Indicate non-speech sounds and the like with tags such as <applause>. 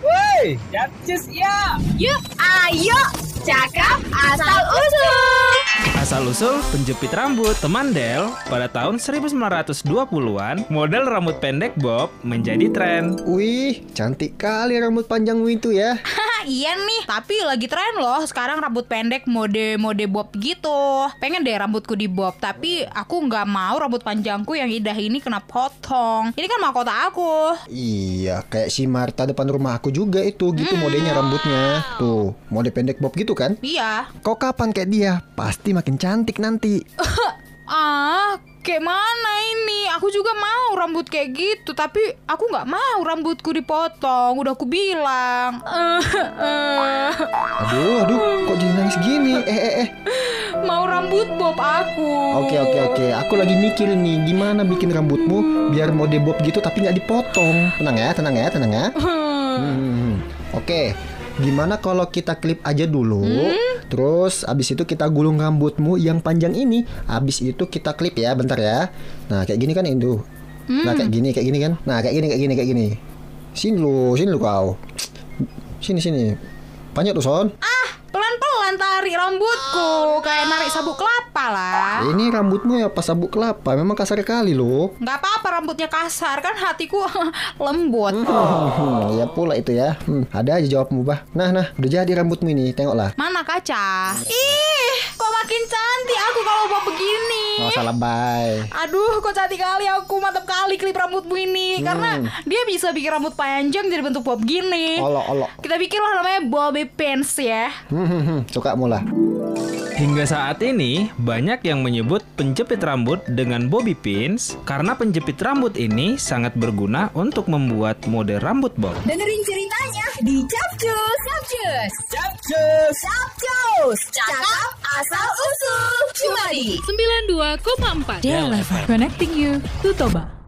Yeay, Yancis ya. Yuk, ayo cakap asal usul. Asal-usul penjepit rambut teman Del pada tahun 1920-an, model rambut pendek bob menjadi tren. Wih, cantik kali rambut panjang itu ya. Hah, iya nih, tapi lagi tren loh sekarang rambut pendek mode-mode bob gitu. Pengen deh rambutku di bob, tapi aku nggak mau rambut panjangku yang indah ini kena potong. Ini kan mahkota aku. Iya, kayak si Marta depan rumah aku juga itu gitu modenya rambutnya. Tuh, mode pendek bob gitu kan? Iya. Kok kapan kayak dia? Pasti makin cantik nanti. Ah, kayak mana ini? Aku juga mau rambut kayak gitu, tapi aku nggak mau rambutku dipotong. Udah aku bilang. <laughs> Eh, Aduh, aduh, kok jadi nangis gini? Eh, eh, eh. mau rambut bob aku. Oke, oke, oke. Aku lagi mikir nih, gimana bikin rambutmu biar mode bob gitu tapi nggak dipotong. Tenang ya, tenang ya, tenang ya. Hmm, Oke, gimana kalau kita klip aja dulu? Terus abis itu kita gulung rambutmu yang panjang ini. Abis itu kita klip ya, bentar ya. Nah kayak gini kan Indu. Nah kayak gini, kayak gini kan. Nah kayak gini, kayak gini, kayak gini. Sini lu, sini lu kau. Sini sini. Panjat tuh son. Ah, pelan-pelan tarik rambutku kayak narik sabuk kelapa lah. Ini rambutmu ya pas sabuk kelapa. Memang kasar kali lo. Nggak apa-apa rambutnya kasar kan hatiku <laughs> lembut. Hmm, ya pula itu ya. Hmm, ada aja jawabmu bah. Nah nah, udah jadi rambutmu ini. Tengoklah. Mana kaca? Ih, kok makin cantik aku kalau mau begini. Nggak usah lebay. Aduh, kok cantik kali aku mantap kali klip rambutmu ini karena dia bisa bikin rambut panjang jadi bentuk bob gini. Olok olok. Kita bikinlah namanya bobby pins ya. Hmm, hmm, hmm, suka mula. Hingga saat ini, banyak yang menyebut penjepit rambut dengan bobby pins karena penjepit rambut ini sangat berguna untuk membuat mode rambut bob. Dengerin ceritanya di Capcus. Capcus. Yancis. Capcus. Cakap asal usul. Cuma di 92,4 Del FM. Connecting you to Toba.